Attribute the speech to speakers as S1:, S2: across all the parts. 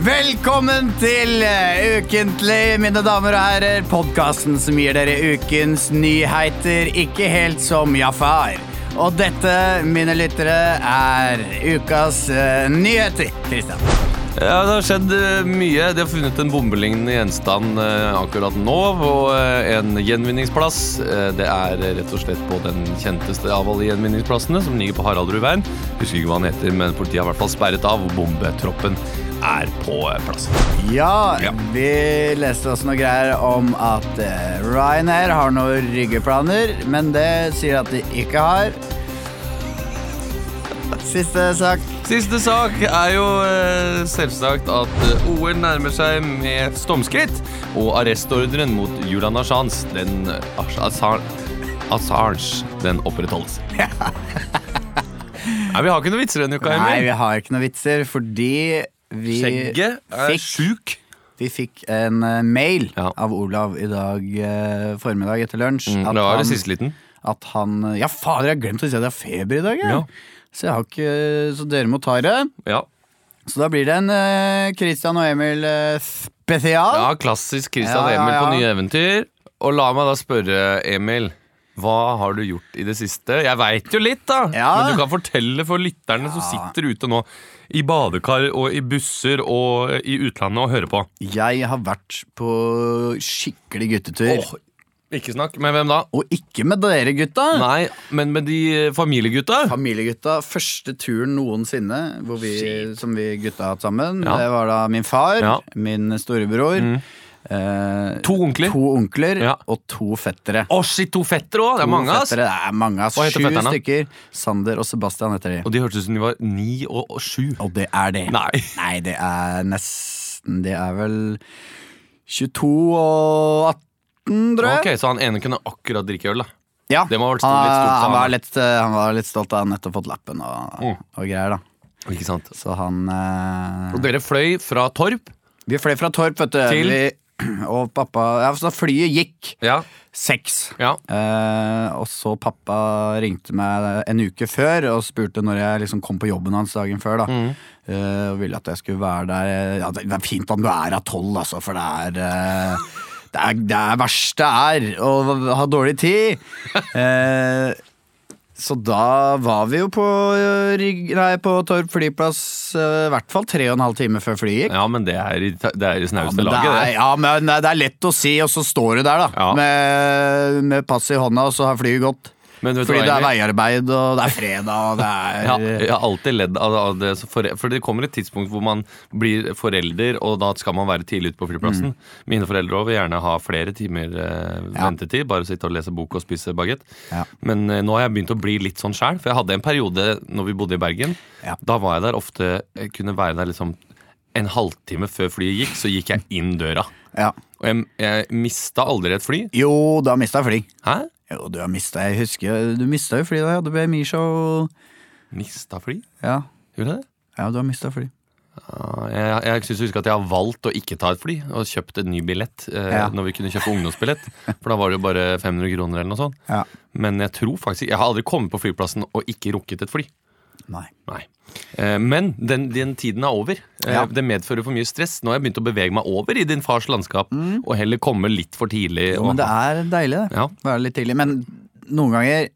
S1: Velkommen til eh, Ukentlig, mine damer og herrer. Podkasten som gir dere ukens nyheter, ikke helt som Jafar. Og dette, mine lyttere, er ukas eh, nyheter. Kristian.
S2: Ja, det har skjedd eh, mye. De har funnet en bombelignende gjenstand eh, akkurat nå. Og eh, en gjenvinningsplass. Eh, Det er eh, rett og slett på den kjenteste av alle gjenvinningsplassene, som ligger på Haraldrudveien. Husker ikke hva den heter, men politiet har i hvert fall sperret av, og bombetroppen er på eh, plassen.
S1: Ja,
S2: Ja.
S1: vi leste også noe greier om at eh, Ryanair har noen ryggeplaner, men det sier at de ikke har. Siste sak.
S2: Siste sak er jo eh, selvsagt at eh, OL nærmer seg med stormskritt. Og arrestordren mot Julian Assange, den eh, Assange, Assange, den opprettholdes. Nei, vi har ikke noen vitser denne uka,
S1: Nei,
S2: Emil.
S1: vi har ikke noen vitser, fordi vi
S2: Skjegget er
S1: fikk,
S2: sjuk.
S1: vi fikk en eh, mail
S2: Ja.
S1: av Olav i dag eh, formiddag etter lunsj.
S2: Mm, det var det siste liten.
S1: at han Ja, fader, jeg har glemt å si at jeg har feber i dag, jeg.
S2: Ja.
S1: Så jeg har ikke Så dere må ta det.
S2: Ja.
S1: Så da blir det en eh, Christian og Emil eh, spesial.
S2: ja, klassisk Christian
S1: Ja, ja,
S2: Emil på
S1: ja.
S2: nye eventyr. Og la meg da spørre, Emil. Hva har du gjort i det siste? Jeg veit jo litt, da!
S1: Ja.
S2: Men du kan fortelle for lytterne som sitter ute nå i badekar og i busser og i utlandet og hører på.
S1: Jeg har vært på skikkelig guttetur.
S2: Åh, ikke snakk. Men hvem da?
S1: Og ikke med dere, gutta.
S2: Nei, men med de familiegutta?
S1: Familiegutta. Første turen noensinne hvor vi,
S2: Shit.
S1: som vi gutta har hatt sammen.
S2: Ja.
S1: Det var da min far,
S2: Ja. Mm.
S1: min storebror, eh,
S2: To onkler?
S1: to onkler
S2: Ja.
S1: og to fettere.
S2: Å, shit, to fettere òg! Det er
S1: To
S2: mange, ass!
S1: fettere, Det er mange, ass.
S2: Hva heter
S1: Sju
S2: fetterne?
S1: stykker. Sander og Sebastian heter de.
S2: Og de hørtes ut som de var ni og og sju.
S1: Og det er det.
S2: Nei.
S1: det er nesten Det er vel 22 og 18, tror jeg.
S2: Ok, Så han ene kunne akkurat drikke øl, da.
S1: Ja.
S2: Det må ha vært
S1: han,
S2: stor- litt
S1: han,
S2: stort for han,
S1: var
S2: da.
S1: litt, eh, han var litt stolt av nettopp fått lappen og,
S2: Mm.
S1: og greier, da.
S2: Ikke sant?
S1: Så han eh,
S2: Og dere fløy fra Torp.
S1: Vi fløy fra Torp, vet du.
S2: Til?
S1: Vi, og pappa Ja, så da flyet gikk
S2: Ja.
S1: seks.
S2: ja.
S1: Eh, og så pappa ringte meg en uke før og spurte når jeg liksom kom på jobben hans dagen før. da eh, Og ville at jeg skulle være der. Ja, det er fint om du er av tolv, altså, for det er eh, det, er, det er verste er å ha dårlig tid. Eh, så da var vi jo på, eh, Rygg- nei, på Torp flyplass eh, i hvert fall tre og en halv time før flyet gikk.
S2: Ja, men det er i, det er i snaueste
S1: men det
S2: laget,
S1: er,
S2: det.
S1: ja, men det er lett å si, og så står du der da
S2: Ja.
S1: med, med pass i hånda, og så har flyet gått.
S2: Men vet du
S1: Fordi det
S2: hva,
S1: er
S2: Emil?
S1: veiarbeid, og det er fredag, og det
S2: Ja,
S1: er
S2: jeg har alltid ledd av av det. så For, for det kommer et tidspunkt hvor man blir forelder, og da skal man være tidlig ute på flyplassen. Mine foreldre også vil gjerne ha flere timer eh,
S1: Mm. Ja.
S2: ventetid, bare sitte og lese bok og spise bagett.
S1: Ja.
S2: Men eh, nå har jeg begynt å bli litt sånn sjæl, for jeg hadde en periode når vi bodde i Bergen.
S1: Ja.
S2: Da var jeg der ofte, jeg kunne være der liksom en halvtime før flyet gikk, så gikk jeg inn døra.
S1: ja.
S2: Og jeg, jeg mista aldri et fly.
S1: Jo, du har mista fly.
S2: Hæ?
S1: Jo, du har mista Jeg husker du mista jo fly da jeg hadde BMI-show.
S2: Mista fly?
S1: Ja.
S2: Gjorde jeg det?
S1: ja, du har mista fly.
S2: Ja, Jeg, jeg synes å huske at jeg har valgt å ikke ta et fly og kjøpt en ny billett eh,
S1: Ja.
S2: når vi kunne kjøpe ungdomsbillett. For da var det jo bare 500 kroner eller noe sånt.
S1: Ja.
S2: Men jeg tror faktisk Jeg har aldri kommet på flyplassen og ikke rukket et fly.
S1: Nei.
S2: Nei. Eh, Men den, den tiden er over. Eh,
S1: Ja.
S2: Det medfører for mye stress. Nå har jeg begynt å bevege meg over i din fars landskap og heller komme litt for tidlig.
S1: Mm. Jo,
S2: og-
S1: men det er deilig, det.
S2: ja.
S1: Være litt tidlig. Men noen ganger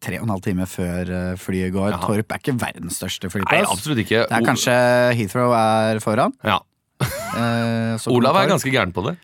S1: tre og en halv time før eh, flyet går.
S2: Ja.
S1: Torp er ikke verdens største
S2: Nei,
S1: flyplass.
S2: absolutt ikke.
S1: det er
S2: O-
S1: kanskje Heathrow er foran.
S2: ja.
S1: eh, så kommer
S2: Olav er
S1: Torp.
S2: ganske gæren på det.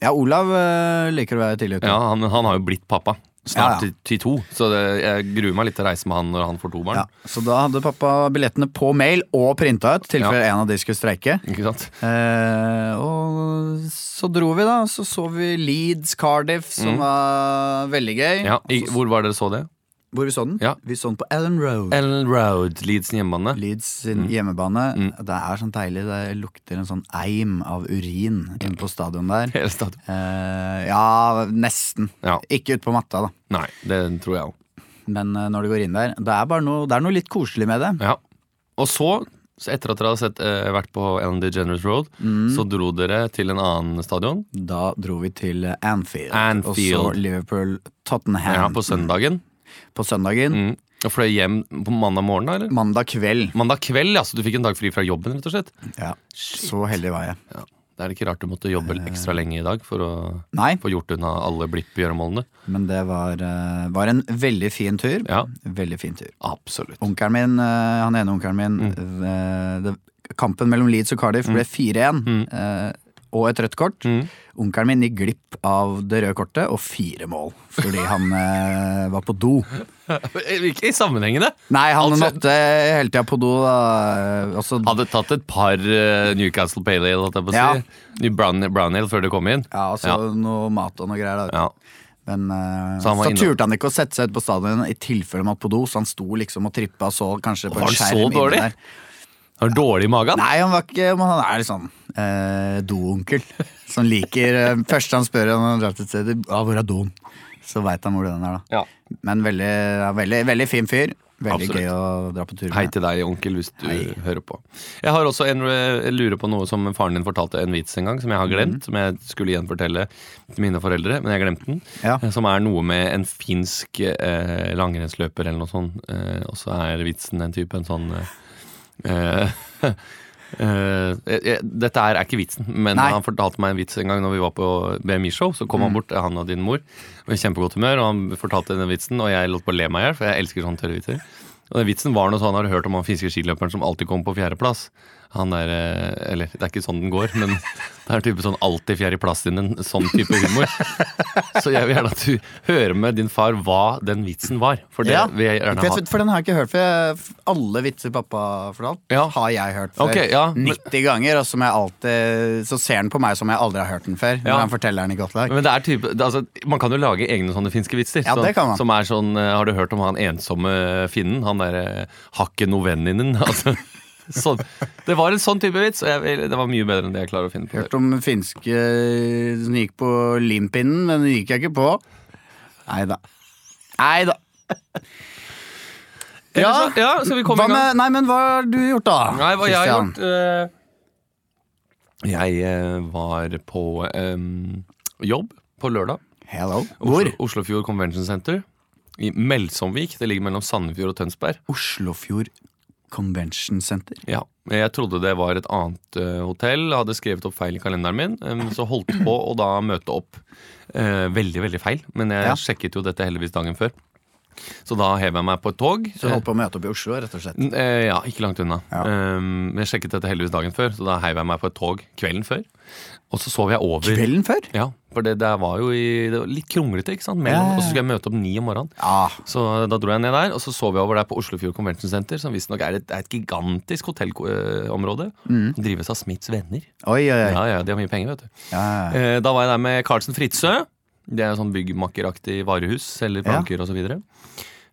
S1: Ja, Olav eh, liker å være tidlig ute.
S2: Ja, han, han har jo blitt pappa.
S1: Ja, ja.
S2: Snart til- til to. Så det, jeg gruer meg litt til å reise med han når han får to barn.
S1: Ja, så da hadde pappa billettene på mail og printa ut, i tilfelle en av de skulle streike.
S2: Ikke sant?
S1: Eh, og så dro vi, da. Så så vi Leeds Cardiff, som var veldig gøy.
S2: Mm. Ja, i,
S1: Og så-
S2: hvor var dere så det?
S1: hvor vi så den?
S2: Ja.
S1: Vi så den på Ellen Road.
S2: Ellen Mm. Road, Leeds hjemmebane.
S1: Leeds sin hjemmebane. Det er sånn deilig. Det lukter en sånn eim av urin inne på stadion der.
S2: Hele stadion.
S1: Eh, ja, nesten.
S2: Ja.
S1: Ikke ute på matta, da.
S2: Nei, det tror jeg òg.
S1: Men eh, når du går inn der Det er bare noe, det er noe litt koselig med det.
S2: Ja. Og så, så etter at dere hadde sett, eh, vært på Ellen DeGeneres Road, så dro dere til en annen stadion.
S1: Da dro vi til Anfield,
S2: Anfield.
S1: og så Liverpool-Tottenham
S2: Ja,
S1: på,
S2: på søndagen.
S1: søndagen.
S2: Mm. Og fløy hjem på mandag morgen, da? eller?
S1: Mandag kveld.
S2: Mandag kveld, ja, så du fikk en dag fri fra jobben, rett og slett?
S1: Ja, så heldig var jeg.
S2: Ja. Det er ikke rart du måtte jobbe ekstra lenge i dag for å
S1: Nei,
S2: få gjort unna alle blippgjøremålene.
S1: men det var, eh, var en veldig fin tur.
S2: Ja.
S1: Veldig fin tur.
S2: Absolutt.
S1: Onkelen min, eh, han ene onkelen min
S2: Mm.
S1: eh, det, Kampen mellom Leeds og Cardiff ble 4-1
S2: Mm.
S1: eh, og et rødt kort. Onkelen min gikk glipp av det røde kortet og fire mål fordi han eh, var på do.
S2: Ikke i sammenhengene.
S1: Nei, han
S2: Altså-
S1: måtte hele tida på do. Da. Altså,
S2: Hadde tatt et par eh, Newcastle Pale Ale, holdt jeg på å si. New Brown, brown Ale før du kom inn.
S1: ja, altså noe mat og noe greier. Da.
S2: Ja.
S1: Men eh,
S2: Så
S1: så,
S2: han var inne-
S1: turte han ikke å sette seg ut på stadion i tilfelle han måtte på do, så han sto liksom og trippa og så kanskje på
S2: Var
S1: en
S2: han så
S1: skjerm. inne
S2: dårlig?
S1: der.
S2: Har du dårlig i magen?
S1: Nei, han var ikke men Han er litt sånn eh, doonkel. Som liker eh, Første han spør om han drar til et sted, ja, hvor er doen? Så veit han hvor den er, da.
S2: Ja.
S1: Men veldig, ja, veldig, veldig fin fyr. Veldig
S2: Absolutt.
S1: gøy å dra på tur
S2: Hei
S1: med.
S2: til deg, onkel, hvis du hører på. Jeg har også en eh, lurer på noe som faren din fortalte en vits en gang, som jeg har glemt. Som jeg skulle gjenfortelle til mine foreldre, men jeg glemte den.
S1: Ja.
S2: Eh, Som er noe med en finsk eh, langrennsløper eller noe sånt. Eh, og så er vitsen en type en sånn eh, eh, eh, eh, dette her er ikke vitsen, men
S1: Nei. Mm.
S2: han fortalte meg en vits en gang Når vi var på BMI-show. Så kom han bort, eh, han og din mor, i kjempegodt humør, og han fortalte denne vitsen. Og jeg lot på å le meg i hjel, for jeg elsker sånne tørre vitser. Og den vitsen var noe sånn, har du hørt om han finske skiløperen som alltid kom på fjerdeplass? Han der, eh, eller det er ikke sånn den går, men det er type sånn alltid fjerde plass din, en sånn type humor. Så jeg vil gjerne at du hører med din far hva den vitsen var, for det
S1: Ja,
S2: vil jeg gjerne ha.
S1: for, for den har jeg ikke hørt før. Jeg- Alle vitser pappa fortalt,
S2: Ja.
S1: har jeg hørt før.
S2: Ok, ja, men-
S1: 90 ganger, og som jeg alltid Så ser han på meg som jeg aldri har hørt den før.
S2: Ja.
S1: Når han forteller den i godt lag.
S2: Men det er type, det, altså, man kan jo lage egne sånne finske vitser.
S1: Ja,
S2: sånn-
S1: det kan man.
S2: Som er sånn, eh, har du hørt om han ensomme finnen? Han derre hakke novenninen? Altså, sånn. Det var en sånn type vits, og jeg, vil- det var mye bedre enn det jeg klarer å finne på.
S1: Hørt om finske som gikk på limpinnen, men den gikk jeg ikke på. Nei da. Nei da.
S2: Eller
S1: Ja,
S2: så- ja, så vi kommer
S1: hva
S2: i gang.
S1: med, nei, men hva har du gjort, da?
S2: Nei, hva jeg har
S1: Christian?
S2: gjort eh, Jeg eh, var på eh, jobb på lørdag.
S1: Hello. Hvor?
S2: Oslo, Oslofjord Convention Center. I Melsomvik. Det ligger mellom Sandefjord og Tønsberg.
S1: Oslofjord Convention Center.
S2: Ja, men Jeg trodde det var et annet eh, hotell. Jeg hadde skrevet opp feil i kalenderen min. eh, så holdt på å da møte opp. Eh, veldig, veldig feil. Men jeg
S1: Ja.
S2: sjekket jo dette heldigvis dagen før. Så da hev jeg meg på et tog.
S1: Så du holdt på å møte opp i Oslo, rett og slett.
S2: N- eh, Ja, ikke langt unna. Um, men jeg sjekket dette heldigvis dagen før, så da heiv jeg meg på et tog kvelden før. Og så sov jeg over.
S1: Kvelden før?
S2: Ja, for det der var jo i, det var litt kronglete, ikke sant? Mellom,
S1: Ja, ja, ja.
S2: Og så skulle jeg møte opp ni om morgenen.
S1: Ja.
S2: Så da dro jeg ned der, og så sov jeg over der på Oslofjord Convention Center, som visstnok er, et- er et gigantisk hotellområde.
S1: Mm.
S2: Som drives av Smiths venner.
S1: Oi, oi, oi.
S2: Ja, ja, de har mye penger, vet du.
S1: Ja.
S2: Eh, Da var jeg der med Carlsen Fritzøe. Det er sånn byggmakkeraktig varehus. Selger
S1: Ja.
S2: planker og så videre.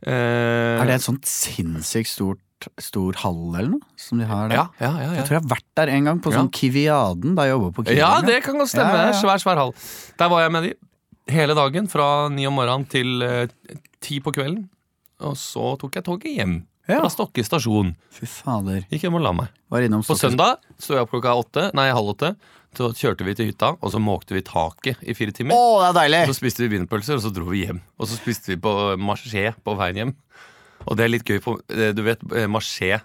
S2: Eh,
S1: Er det et sånt sinnssykt stort stor hall eller noe? Som de har der?
S2: Ja, ja, ja, ja.
S1: Jeg tror jeg har vært der en gang, på sånn
S2: Ja.
S1: Kiviaden, da jeg jobba på Kiwi.
S2: Ja, det kan godt stemme.
S1: Ja, ja, ja.
S2: Svær, svær hall. Der var jeg med de hele dagen, fra ni om morgenen til eh, ti på kvelden. Og så tok jeg toget hjem
S1: Ja.
S2: fra Stokke stasjon.
S1: Fy fader.
S2: Gikk hjem og la meg.
S1: Var innom
S2: På
S1: Stokke-
S2: søndag sto jeg opp klokka åtte, nei halv åtte. Så kjørte vi til hytta, og så måkte vi taket i fire
S1: Å,
S2: timer.
S1: det er deilig!
S2: Så spiste vi wienerpølser, og så dro vi hjem. Og så spiste vi på Marché på veien hjem. Og det er litt gøy, på, eh, du vet eh, Marché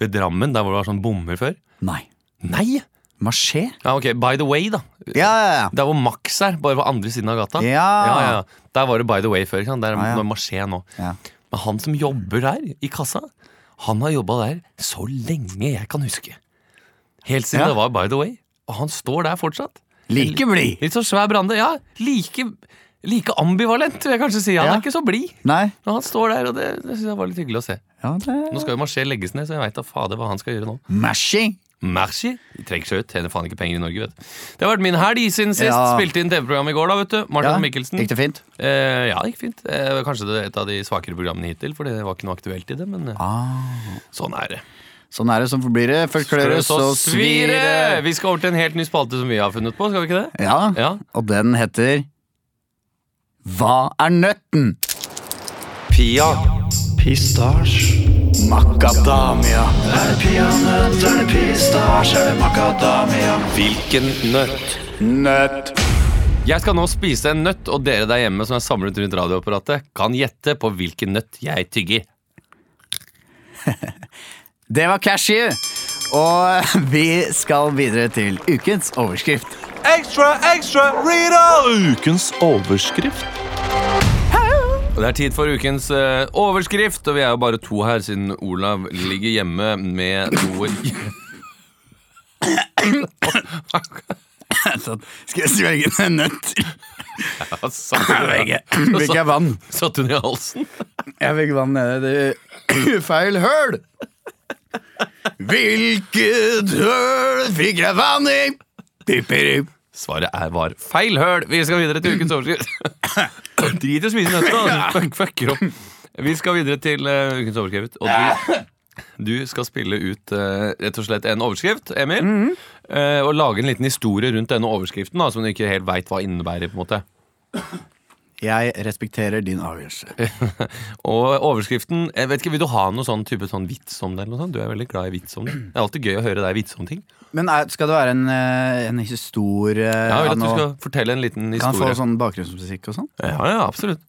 S2: ved Drammen, der hvor det var sånn bommer før?
S1: Nei.
S2: Nei!
S1: Maché?
S2: Ja, ok, By the way, da.
S1: Ja, ja, ja.
S2: Der hvor Max er, bare på andre siden av gata.
S1: Ja.
S2: Ja, ja, ja. Der var det By the Way før. Ikke sant? Der er
S1: Ja, ja.
S2: det Marché nå.
S1: Ja.
S2: Men han som jobber der, i kassa, han har jobba der så lenge jeg kan huske. Helt siden
S1: Ja.
S2: det var By the Way. Og han står der fortsatt.
S1: Like blid!
S2: Litt sånn svær brande. Ja, like, like ambivalent, vil jeg kanskje si. Han
S1: Ja.
S2: er ikke så blid.
S1: Nei.
S2: Men han står der, og det, det syns jeg var litt hyggelig å se.
S1: Ja,
S2: Nå
S1: det
S2: skal jo Marché legges ned, så jeg veit da fader hva han skal gjøre nå.
S1: Mashing!
S2: Merci. De trenger seg ut. Tjener faen ikke penger i Norge, vet du. Det har vært min helg siden sist.
S1: Ja.
S2: Spilte inn TV-program i går, da, vet du. Martin
S1: Ja,
S2: Mikkelsen.
S1: Gikk det fint?
S2: Eh, ja, det gikk fint. Eh, kanskje det er et av de svakere programmene hittil, for det var ikke noe aktuelt i det, men eh, sånn er det.
S1: Sånn er det, sånn forblir det. Først klør det, så svir det.
S2: Vi skal over til en helt ny spalte som vi har funnet på, skal vi ikke det?
S1: Ja,
S2: Ja.
S1: og den heter Hva er nøtten?
S2: Pia.
S3: Pistasj.
S1: Makadamia.
S3: Er det peanøtt, er det pistasj, er det makadamia?
S2: Hvilken nøtt?
S1: Nøtt.
S2: Jeg skal nå spise en nøtt, og dere der hjemme som er samlet rundt radioapparatet, kan gjette på hvilken nøtt jeg tygger.
S1: Det var Cashew! Og vi skal videre til ukens overskrift.
S2: Ekstra, ekstra, Rita! Ukens overskrift. Det er tid for ukens eh, overskrift, og vi er jo bare to her siden Olav ligger hjemme med noe
S1: Sånn, Skal jeg svelge en nøtt?
S2: Ja, satt
S1: Jeg
S2: hun
S1: vet
S2: i-
S1: ikke. Fikk jeg vann?
S2: Satt hun i halsen?
S1: Jeg fikk vann nede i det feil høl. Hvilket høl fikk jeg vann i? Pipperip.
S2: Svaret er var feil høl. Vi skal videre til ukens overskrift. Drit i å spise nøttene. altså. Fuck, fucker opp. Vi skal videre til eh, ukens overskrift. Og du, du skal spille ut eh, rett og slett en overskrift, Emil. eh, og lage en liten historie rundt denne overskriften, da, som du ikke helt veit hva innebærer. på en måte
S1: Jeg respekterer din avgjørelse.
S2: Og overskriften jeg vet ikke, Vil du ha noe sånn type sånn vits om det? eller noe sånt? Du er veldig glad i vits om det. Det er alltid gøy å høre deg vitse om ting.
S1: Men er, skal det være en, eh, en historie?
S2: Jeg vil
S1: av
S2: at du
S1: noe-
S2: skal fortelle en liten
S1: Kan få
S2: historie.
S1: sånn bakgrunnsmusikk og sånn?
S2: Ja, ja, absolutt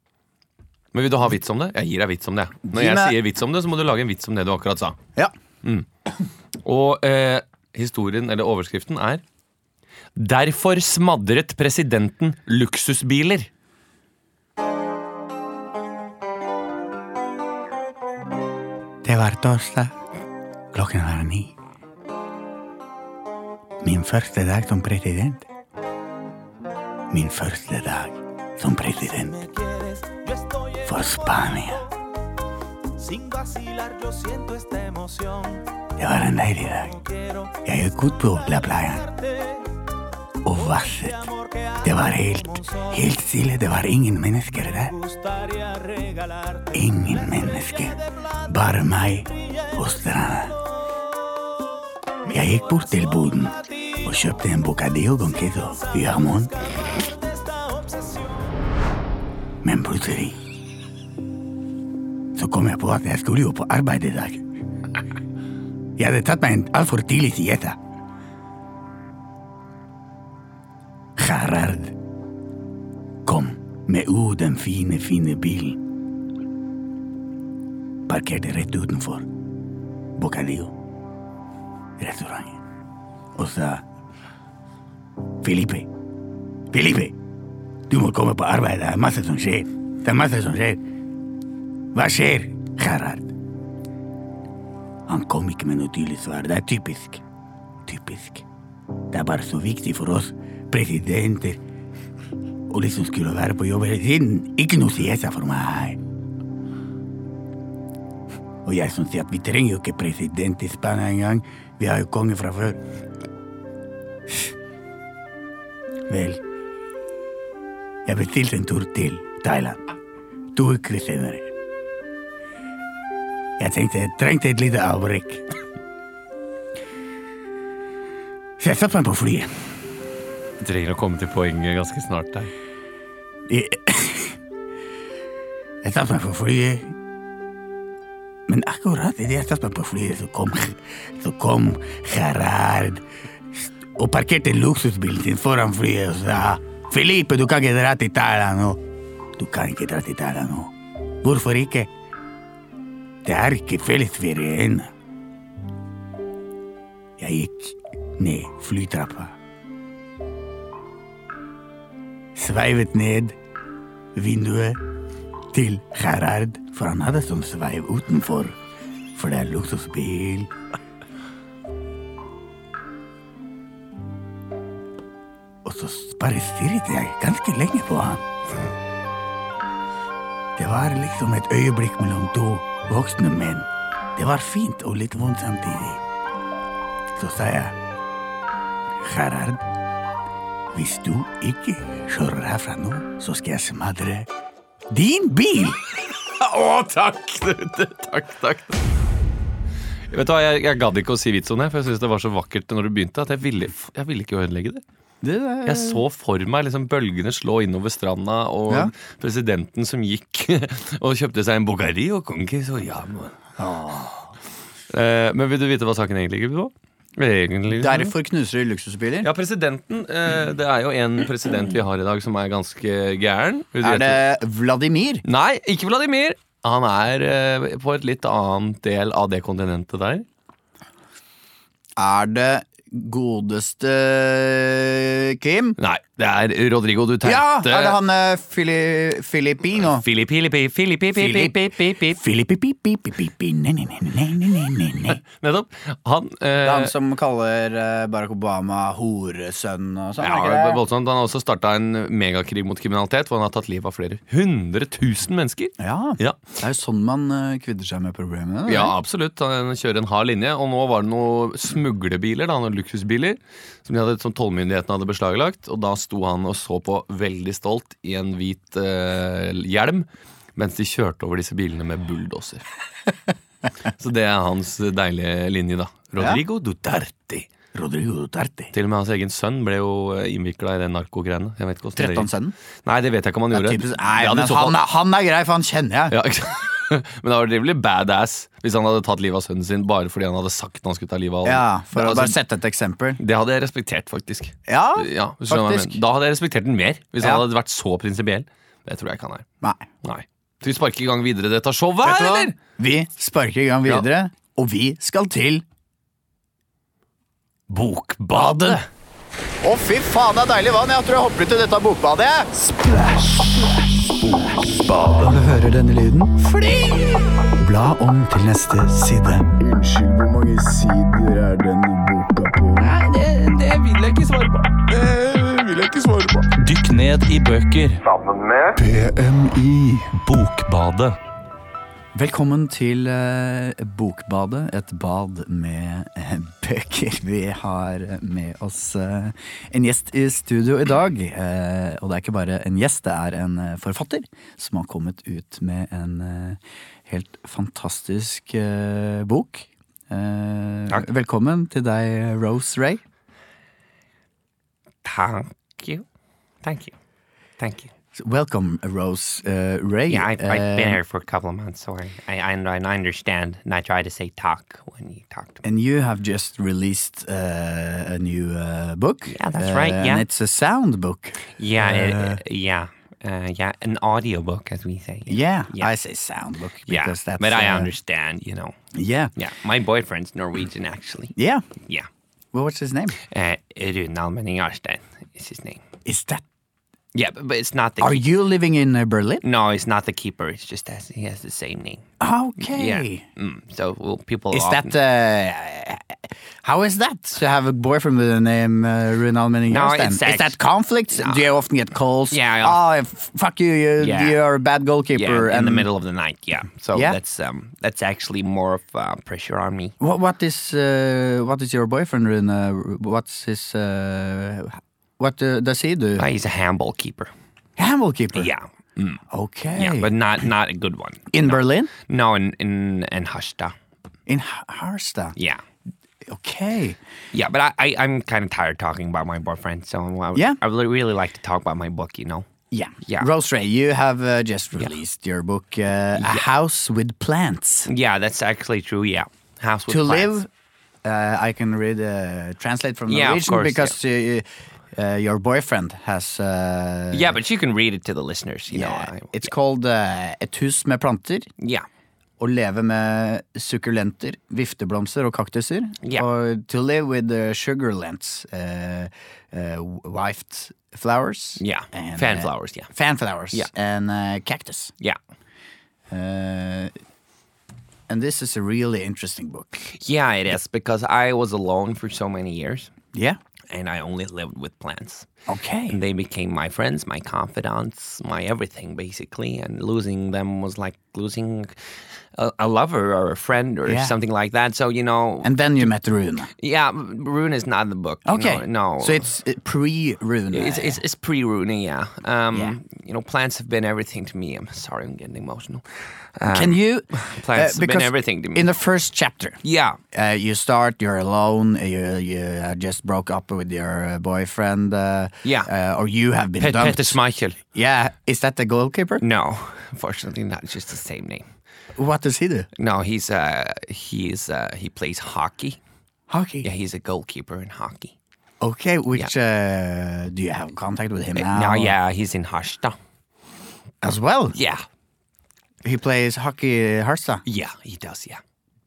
S2: Men vil du ha vits om det? Jeg gir deg vits om det. Når
S1: Gi
S2: jeg
S1: meg-
S2: sier vits om det, så må du lage en vits om det du akkurat sa.
S1: Ja.
S2: Og eh, historien, eller overskriften, er Derfor smadret presidenten luksusbiler.
S1: Det var torsdag. Klokken var ni. Min første dag som president. Min første dag som president
S4: me quieres, yo estoy en
S1: for Spania.
S4: Sin vacilar, yo siento esta emoción.
S1: Det var en deilig dag.
S4: No quiero
S1: Jeg gikk ut på La Playa
S4: darte
S1: og vasset.
S4: amor que a
S1: Det var helt, helt stille. Det var ingen mennesker der.
S4: me gustaría regalarte.
S1: Ingen mennesker. Bare meg og stranda. Jeg gikk bort til boden og kjøpte en bocadillo con queso i jamón. Men plutselig så kom jeg på at jeg skulle jo på arbeid i dag. Jeg hadde tatt meg en altfor tidlig siesta. Gerard kom med u den ne fine, fine bilen parkerte rett utenfor Bocadillo restauranten og sa Felipe, Felipe, du må komme på arbeid, det er masse som skjer. Det er masse som skjer. Hva skjer, Gerhard? Han kom ikke med noe tydelig svar. Det er typisk. Typisk. Det er bare så viktig for oss presidenter og de som skulle være på jobb hele tiden. Ikke noe siesa for meg. Og jeg som sier at vi trenger jo ikke president i Spania engang. Vi har jo konge fra før. Vel Jeg bestilte en tur til Thailand. To uker senere. Jeg tenkte jeg trengte et lite avbrekk. Så jeg satte meg på flyet.
S2: Du trenger å komme til poenget ganske snart. Der.
S1: Jeg jeg satte meg på flyet. Men akkurat idet jeg satte meg på flyet, så kom, så kom Gerard og parkerte luksusbilen sin foran flyet og sa Felipe, du kan ikke dra til Italia nå. Du kan ikke dra til Italia nå. Hvorfor ikke? Det er ikke fellesferie ennå. Jeg gikk ned flytrappa. Sveivet ned vinduet til Gerhard, for han hadde sånn sveiv utenfor. For det er luksusbil. Og så bare stirret jeg ganske lenge på han. Det var liksom et øyeblikk mellom to voksne menn. Det var fint og litt vondt samtidig. Så sa jeg, Gerhard, hvis du ikke kjører herfra nå, så skal jeg smadre din bil!
S2: Å, takk! takk, takk. Vet du hva, Jeg, jeg gadd ikke å si vits om det, for jeg synes det var så vakkert når du begynte. at Jeg ville, jeg ville ikke ødelegge det. Jeg så for meg liksom bølgene slå innover stranda, og
S1: Ja.
S2: presidenten som gikk og kjøpte seg en bogari og konki. Så ja, man. Eh, men vil du vite hva saken egentlig ligger på? Egentlig, liksom?
S1: Derfor knuser de luksusbiler.
S2: Ja, presidenten. eh, det er jo en president vi har i dag som er ganske gæren. Vil du
S1: Er
S2: gjette?
S1: det Vladimir?
S2: Nei, ikke Vladimir. Han er eh, på et litt annet del av det kontinentet der.
S1: Er det godeste Kim?
S2: Nei, det er Rodrigo Duterte.
S1: Ja! Er det han eh, Fili Filipino?
S2: Filippi, Filippi, Filippi,
S1: Filip.
S2: Filippi, Filippi.
S1: Det
S2: Nettopp. Han, eh,
S1: er han som kaller eh, Barack Obama horesønn og sånn?
S2: ja,
S1: er
S2: det er
S1: ikke det?
S2: voldsomt. Han har også starta en megakrig mot kriminalitet, hvor han har tatt livet av flere hundre tusen mennesker.
S1: ja,
S2: Ja.
S1: det er jo sånn man eh, kvitter seg med problemene.
S2: Ja, absolutt. Han kjører en hard linje. Og nå var det noen smuglebiler, da, noen luksusbiler, som, de hadde, som tollmyndighetene hadde beslaglagt. Og da sto han og så på veldig stolt i en hvit eh, hjelm mens de kjørte over disse bilene med bulldoser. Så det er hans deilige linje, da. Rodrigo Duterte.
S1: Rodrigo Duterte.
S2: Til og med hans egen sønn ble jo innvikla i den narkogreiene. Jeg vet ikke hvordan det gikk.
S1: 13-sønnen?
S2: Nei, det vet jeg ikke om han
S1: Det
S2: gjorde.
S1: er typisk- Nei,
S2: Ja, det
S1: men
S2: så på-
S1: han, er- han er grei, for han kjenner jeg.
S2: ja, ikke sant? Men det hadde vært litt badass hvis han hadde tatt livet av sønnen sin bare fordi han hadde sagt når han skulle ta livet av han.
S1: Ja, For å
S2: Altså,
S1: bare sette et eksempel.
S2: Det hadde jeg respektert, faktisk.
S1: Ja,
S2: Ja, hvis du skjønner hva jeg
S1: faktisk.
S2: mener. Da hadde jeg respektert den mer, hvis
S1: Ja.
S2: han hadde vært så prinsipiell. Det tror jeg ikke han er.
S1: Nei.
S2: Nei. Skal vi sparke i gang videre dette showet
S1: Vet du
S2: her,
S1: hva?
S2: eller?
S1: Vi sparker i gang videre, og vi skal til
S2: Bokbadet!
S1: Å, fy faen, det er deilig vann! Jeg tror jeg hopper ut i dette bokbadet.
S5: Når du hører denne lyden,
S1: Bla om til neste side.
S5: unnskyld, hvor mange sider er denne boka på?
S6: Dykk ned i bøker.
S5: PMI.
S6: Bokbadet.
S1: Velkommen til eh, Bokbadet, et bad med eh, bøker. Vi har med oss eh, en gjest i studio i dag. eh, og det er ikke bare en gjest, det er en eh, forfatter som har kommet ut med en eh, helt fantastisk eh, bok. Eh,
S2: Takk.
S1: Velkommen til deg, Rose Ray.
S2: Thank you. Thank you. Thank you.
S1: Welcome, Rose uh, Ray.
S7: Yeah, I've, I've
S1: Uh,
S7: been here for a couple of months, so I, I, I, I understand. And I try to say talk when you talk to me.
S1: And you have just released uh, a new uh, book.
S7: Yeah, that's right,
S1: Uh,
S7: yeah.
S1: And it's a sound book.
S7: Yeah, it, yeah, uh, yeah, an audiobook, as we say.
S1: Yeah,
S7: Yeah.
S1: I say sound book
S7: yeah.
S1: because that's.
S7: but I
S1: uh,
S7: understand, you know.
S1: Yeah.
S7: Yeah, my boyfriend's Norwegian, actually.
S1: Yeah.
S7: Yeah.
S1: Well, what's his name?
S7: Uh, Rune Almenning Arstein is his name.
S1: Is that?
S7: Yeah, but, but it's not the
S1: Are
S7: keep-
S1: you living in uh, Berlin?
S7: No, it's not the keeper. It's just as he has the same name.
S1: Okay.
S7: Yeah. Mm, so well, people.
S1: Is
S7: often,
S1: that? Uh, how is that to have a boyfriend with the name uh, Rinal Manning
S7: No,
S1: Jarstein?
S7: it's
S1: Is that
S7: act-
S1: conflict? Do you often get calls?
S7: Yeah, I
S1: Oh, f- fuck you! you
S7: Yeah.
S1: You're a bad goalkeeper.
S7: yeah, in
S1: and
S7: the middle of the night? Yeah. So
S1: Yeah.
S7: that's um that's actually more of uh, pressure on me.
S1: What what is uh, what is your boyfriend in? Uh, what's his? Uh, what uh, does he do?
S7: Uh, he's a handball keeper.
S1: Handball keeper.
S7: Yeah.
S1: Okay.
S7: Yeah, but not not a good one.
S1: in Berlin,
S7: No, in in in Hashta.
S1: in Ha- Harstad.
S7: Yeah.
S1: Okay.
S7: Yeah, but I, I I'm kind of tired talking about my boyfriend, so I, would-
S1: Yeah.
S7: I would really like to talk about my book, you know.
S1: Yeah.
S7: Yeah.
S1: Rose Ray, you have uh, just released your book, uh, A House with Plants.
S7: Yeah, that's actually true. Yeah, house with
S1: to
S7: plants.
S1: live, uh, I can read, uh, translate from
S7: Yeah, of
S1: Norwegian
S7: course,
S1: because uh, uh, your boyfriend has. Uh,
S7: Yeah, but you can read it to the listeners. You
S1: yeah,
S7: know. I-
S1: it's called uh, Et hus med planter.
S7: yeah.
S1: Å leve med sukkulenter, vifteblomster og kaktuser.
S7: Ja.
S1: Og to live with the sugarlents, uh, uh, wifed flowers.
S7: Yeah.
S1: and,
S7: Fan
S1: uh,
S7: flowers. Yeah.
S1: fan flowers
S7: Ja.
S1: and uh, cactus.
S7: Yeah.
S1: Uh, and this is a really interesting book.
S7: Yeah, it is because I was alone for so many years,
S1: Yeah.
S7: and I only lived with plants.
S1: Okay.
S7: And they became my friends, my confidants, my everything, basically. And losing them was like losing a, a lover or a friend or
S1: Yeah.
S7: something like that. So, you know,
S1: And then you met Rune.
S7: yeah, Rune is not in the book. you
S1: Okay.
S7: know, No.
S1: So it's uh, pre-Rune.
S7: it's, it's, it's pre Rune, yeah. Um,
S1: Yeah.
S7: You know, plants have been everything to me. I'm sorry, I'm getting emotional.
S1: Can you? eh,
S7: Plants have um, been
S1: Uh, because
S7: everything to me.
S1: In the first chapter,
S7: yeah.
S1: uh, you start, you're alone, uh, you, you uh, just broke up with your uh, boyfriend. Uh,
S7: Yeah.
S1: Uh, or you have been
S7: Pet- Mm.
S1: dumped.
S7: Peter Schmeichel.
S1: yeah. Is that the goalkeeper?
S7: No, unfortunately not. It's just the same name.
S1: What does he do?
S7: No, he's uh he's uh he plays hockey.
S1: Hockey.
S7: Yeah, he's a goalkeeper in hockey.
S1: Okay, which uh, do you Oh.
S7: Uh,
S1: have contact with him now?
S7: Now, yeah, he's in Hashta.
S1: As well?
S7: Yeah.
S1: He plays hockey uh, Harsa.
S7: Yeah, he does. Yeah.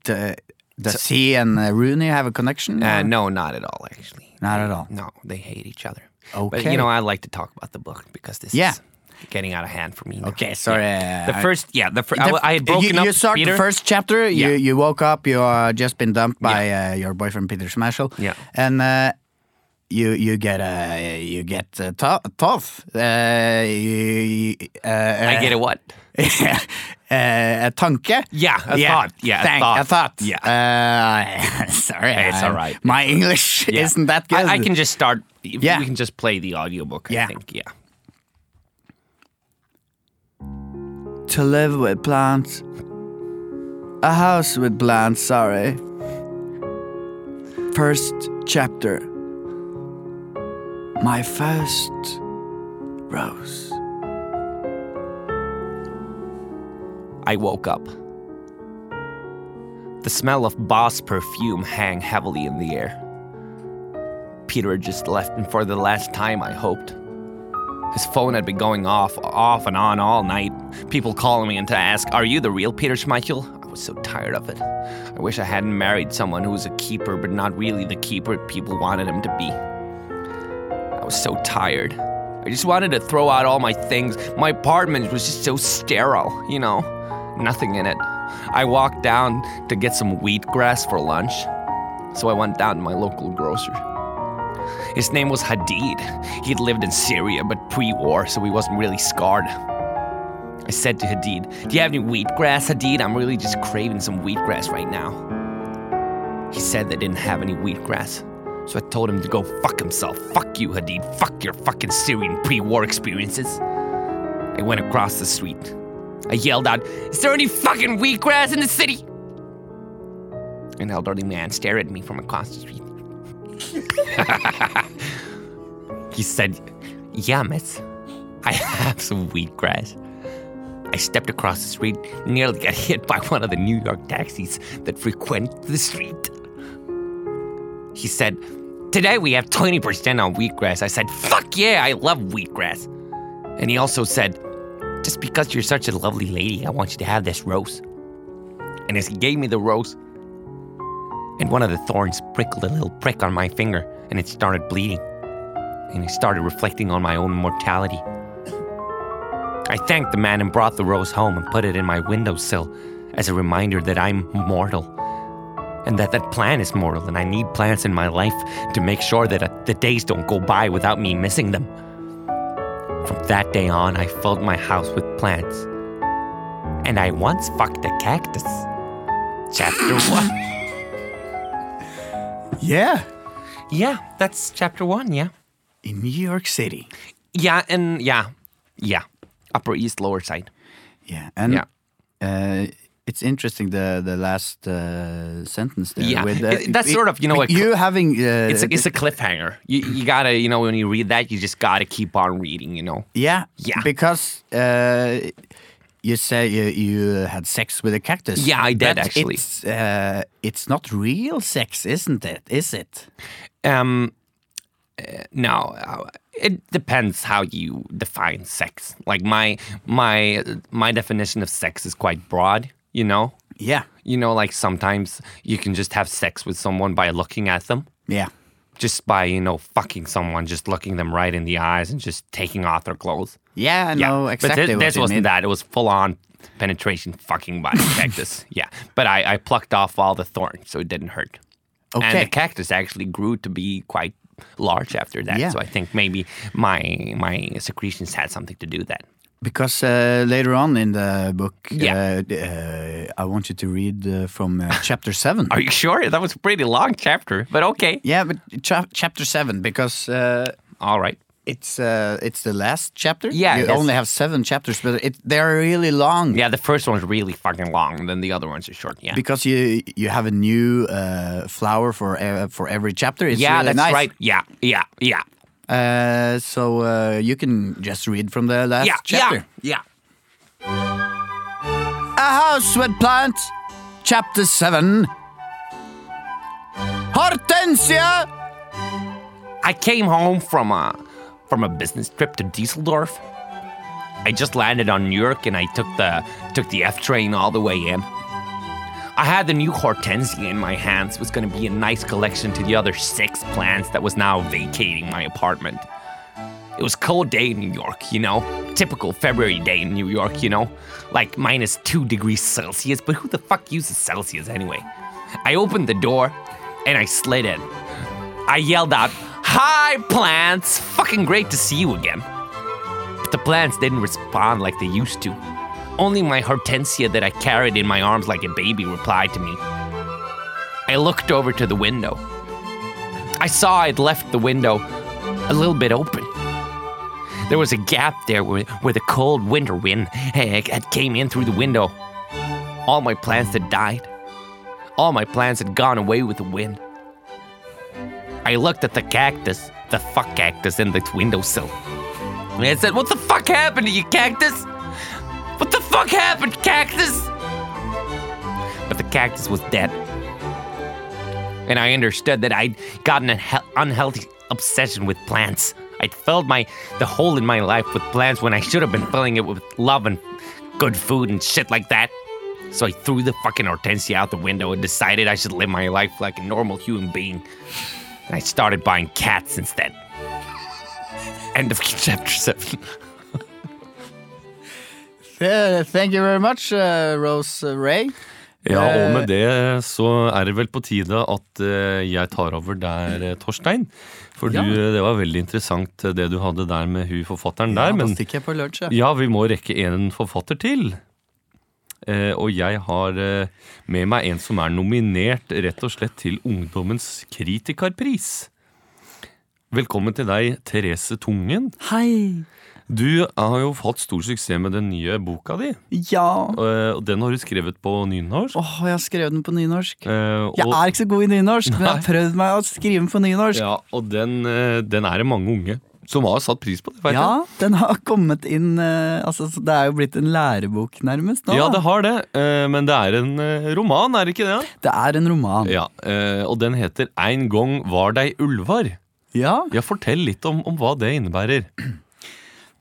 S1: D- does he and uh, Rooney have a connection?
S7: Uh, no, not at all. Actually,
S1: Not at all.
S7: no, they hate each other. But
S1: Okay.
S7: you know, I like to talk about the book because this
S1: Yeah.
S7: is getting out of hand for me. now.
S1: Okay, sorry.
S7: Yeah. The
S1: I-
S7: first, yeah, the first. I,
S1: The-
S7: w- I had broken
S1: you,
S7: up.
S1: You start
S7: Peter.
S1: the first chapter. You
S7: Yeah.
S1: you woke up. You are just been dumped by uh, your boyfriend Peter Smashel.
S7: Yeah.
S1: and uh, you you get uh, you get uh, tou- tough. Uh, you, uh,
S7: I get a what?
S1: a tanke.
S7: Yeah, a thought. Yeah, a
S1: thank-
S7: thought.
S1: Yeah.
S7: Yeah.
S1: Uh, sorry.
S7: It's
S1: I'm-
S7: all right.
S1: My English
S7: Yeah.
S1: isn't that good.
S7: I, I can just start. if
S1: Yeah.
S7: We can just play the audiobook,
S1: Yeah.
S7: I think. Yeah.
S1: to live with plants. A house with plants, sorry. First chapter. My first rose.
S7: I woke up. The smell of Boss perfume hang heavily in the air. Peter had just left, and for the last time, I hoped. His phone had been going off, off and on all night. People calling me and to ask, "Are you the real Peter Schmeichel?" I was so tired of it. I wish I hadn't married someone who was a keeper, but not really the keeper people wanted him to be. I was so tired. I just wanted to throw out all my things. My apartment was just so sterile, you know, nothing in it. I walked down to get some wheatgrass for lunch, so I went down to my local grocer. His name was Hadid. He'd lived in Syria, but pre war, so he wasn't really scarred. I said to Hadid, Do you have any wheatgrass, Hadid? I'm really just craving some wheatgrass right now. He said they didn't have any wheatgrass. So I told him to go fuck himself. Fuck you, Hadid. Fuck your fucking Syrian pre war experiences. I went across the street. I yelled out, Is there any fucking wheatgrass in the city? An elderly man stared at me from across the street. he said, Yeah, miss. I have some wheatgrass. I stepped across the street, nearly got hit by one of the New York taxis that frequent the street. He said, Today we have 20% on wheatgrass. I said, Fuck yeah, I love wheatgrass. And he also said, Just because you're such a lovely lady, I want you to have this rose. And as he gave me the rose, and one of the thorns prickled a little prick on my finger, and it started bleeding. And I started reflecting on my own mortality. I thanked the man and brought the rose home and put it in my windowsill as a reminder that I'm mortal and that that plan is mortal and I need plans in my life to make sure that uh, the days don't go by without me missing them. From that day on, I filled my house with plants. And I once fucked a cactus. Chapter 1.
S1: Yeah.
S7: yeah, that's chapter 1, yeah.
S1: In New York City.
S7: Yeah, and yeah. Yeah. Upper East, Lower Side.
S1: Yeah. And
S7: Yeah.
S1: uh, it's interesting the the last uh, sentence there.
S7: Yeah.
S1: With, uh,
S7: It- that's sort of, you know,
S1: with
S7: a cl-
S1: you having uh,
S7: It's a, it's a cliffhanger. You, you gotta, you know, when you read that, you just gotta keep on reading, you know.
S1: yeah
S7: Yeah.
S1: because uh, you say you, you had sex with a cactus.
S7: Yeah, I did,
S1: But
S7: actually.
S1: It's, uh, it's not real sex, isn't it? Is it?
S7: Um, uh, no, uh, it depends how you define sex. Like my my my definition of sex is quite broad. You know,
S1: Yeah.
S7: you know, like sometimes you can just have sex with someone by looking at them,
S1: Yeah.
S7: just by you know fucking someone, just looking them right in the eyes and just taking off their clothes.
S1: Yeah, I know exactly
S7: But thi-
S1: what
S7: this
S1: you mean.
S7: wasn't that. It was full on penetration fucking by the cactus. Yeah. But I, I plucked off all the thorns so it didn't hurt. And
S1: Okay.
S7: the cactus actually grew to be quite large after that.
S1: Yeah.
S7: So I think maybe my my secretions had something to do with that.
S1: Because uh, later on in the book,
S7: Yeah.
S1: uh, uh, I want you to read uh, from uh, chapter 7.
S7: Are you sure? That was a pretty long chapter, but okay.
S1: yeah, but cha- chapter 7, because uh,
S7: All right.
S1: it's uh, it's the last chapter.
S7: Yeah,
S1: You
S7: it is.
S1: only have seven chapters, but it, they're really long.
S7: Yeah, the first one's really fucking long, and then the other ones are short. Yeah.
S1: Because you you have a new uh, flower for uh, for every chapter. It's
S7: yeah,
S1: really
S7: that's
S1: nice.
S7: right. Yeah, yeah, yeah.
S1: Uh, so uh, you can just read from the last
S7: yeah,
S1: chapter.
S7: yeah,
S1: A House with Plant, Chapter 7. Hortensia!
S7: yeah. I came home from a from a business trip to Düsseldorf. I just landed on Newark and I took the took the F train all the way in. I had the new hortensia in my hands. It was going to be a nice collection to the other six plants that was now vacating my apartment. It was cold day in New York, you know. Typical February day in New York, you know. Like minus 2 degrees Celsius, but who the fuck uses Celsius anyway? I opened the door and I slid in. I yelled out, "Hi plants, fucking great to see you again." But the plants didn't respond like they used to. Only my hortensia that I carried in my arms like a baby replied to me. I looked over to the window. I saw I'd left the window a little bit open. There was a gap there where, where the cold winter wind eh, had came in through the window. All my plants had died. All my plants had gone away with the wind. I looked at the cactus, the fuck cactus in the windowsill. And I said, What the fuck happened to you, cactus? What the fuck happened, cactus? But the cactus was dead. And I understood that I'd gotten an he- unhealthy obsession with plants. I'd filled my the hole in my life with plants when I should have been filling it with love and good food and shit like that. So I threw the fucking hortensia out the window and decided I should live my life like a normal human being. And I started buying cats instead. End of chapter seven.
S1: Eh, Thank you very much, eh, Rose Ray.
S2: Ja, og
S7: Uh,
S2: med det så er det vel på tide at eh, jeg tar over der, eh, Torstein. For du, eh, det var veldig interessant eh, det du hadde der med hun forfatteren der.
S1: da
S2: Men
S1: stikker jeg på lunsj, jeg.
S2: ja, vi må rekke en forfatter til. Eh, og jeg har eh, med meg en som er nominert rett og slett til Ungdommens kritikerpris. Velkommen til deg, Therese Tungen.
S1: Hei.
S2: Du har jo hatt stor suksess med den nye boka di.
S1: Ja.
S2: eh, Og den har du skrevet på nynorsk.
S1: Åh, jeg har skrevet den på nynorsk.
S2: Eh,
S1: Jeg
S2: og-
S1: er ikke så god i nynorsk, men jeg har
S2: Nei.
S1: prøvd meg å skrive den på nynorsk.
S2: Ja, og den, eh, den er det mange unge som har satt pris på. det, vet
S1: Ja, den har kommet inn eh, altså, så Det er jo blitt en lærebok, nærmest. nå
S2: jeg. ja,
S1: da.
S2: det har det, eh, men det er en eh, roman, er det ikke det?
S1: Det er en roman.
S2: Ja, eh, Og den heter 'Ein gong var dei ulvar'.
S1: Ja?
S2: Ja, Fortell litt om, om hva det innebærer.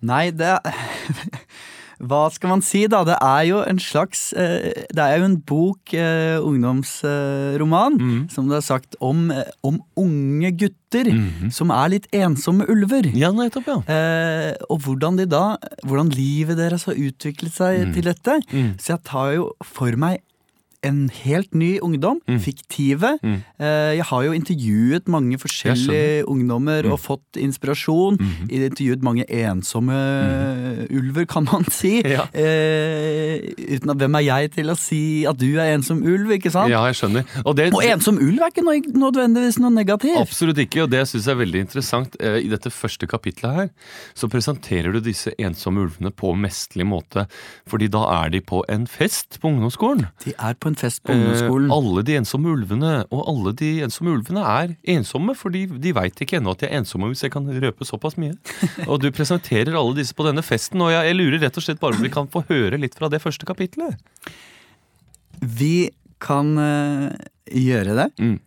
S1: Nei, det Hva skal man si, da? Det er jo en slags eh, Det er jo en bok, eh, ungdomsroman,
S2: Mm.
S1: som det er sagt, om, eh, om unge gutter
S2: Mhm.
S1: som er litt ensomme ulver.
S2: Ja, nettopp, ja.
S1: Eh, og hvordan de da Hvordan livet deres har utviklet seg
S2: Mm.
S1: til dette. Så jeg tar jo for meg en helt ny ungdom.
S2: Mm.
S1: Fiktive. Eh, jeg har jo intervjuet mange forskjellige ungdommer
S2: Mm.
S1: og fått inspirasjon.
S2: Mhm.
S1: Intervjuet mange ensomme ulver, kan man si.
S2: Ja.
S1: Eh, uten at hvem er jeg til å si at du er ensom ulv, ikke sant?
S2: Ja, jeg skjønner. Og det,
S1: Og ensom ulv er ikke noe, nødvendigvis noe negativt.
S2: Absolutt ikke, og det syns jeg er veldig interessant. Eh, I dette første kapitlet her så presenterer du disse ensomme ulvene på mesterlig måte, fordi da er de på en fest på ungdomsskolen.
S1: De er på en fest på ungdomsskolen.
S2: Eh, alle de ensomme ulvene, og alle de ensomme ulvene er ensomme, fordi de veit ikke ennå at de er ensomme, hvis jeg kan røpe såpass mye. Og du presenterer alle disse på denne festen, og jeg, jeg lurer rett og slett bare om vi kan få høre litt fra det første kapitlet.
S1: Vi kan eh, gjøre det.
S2: Mm.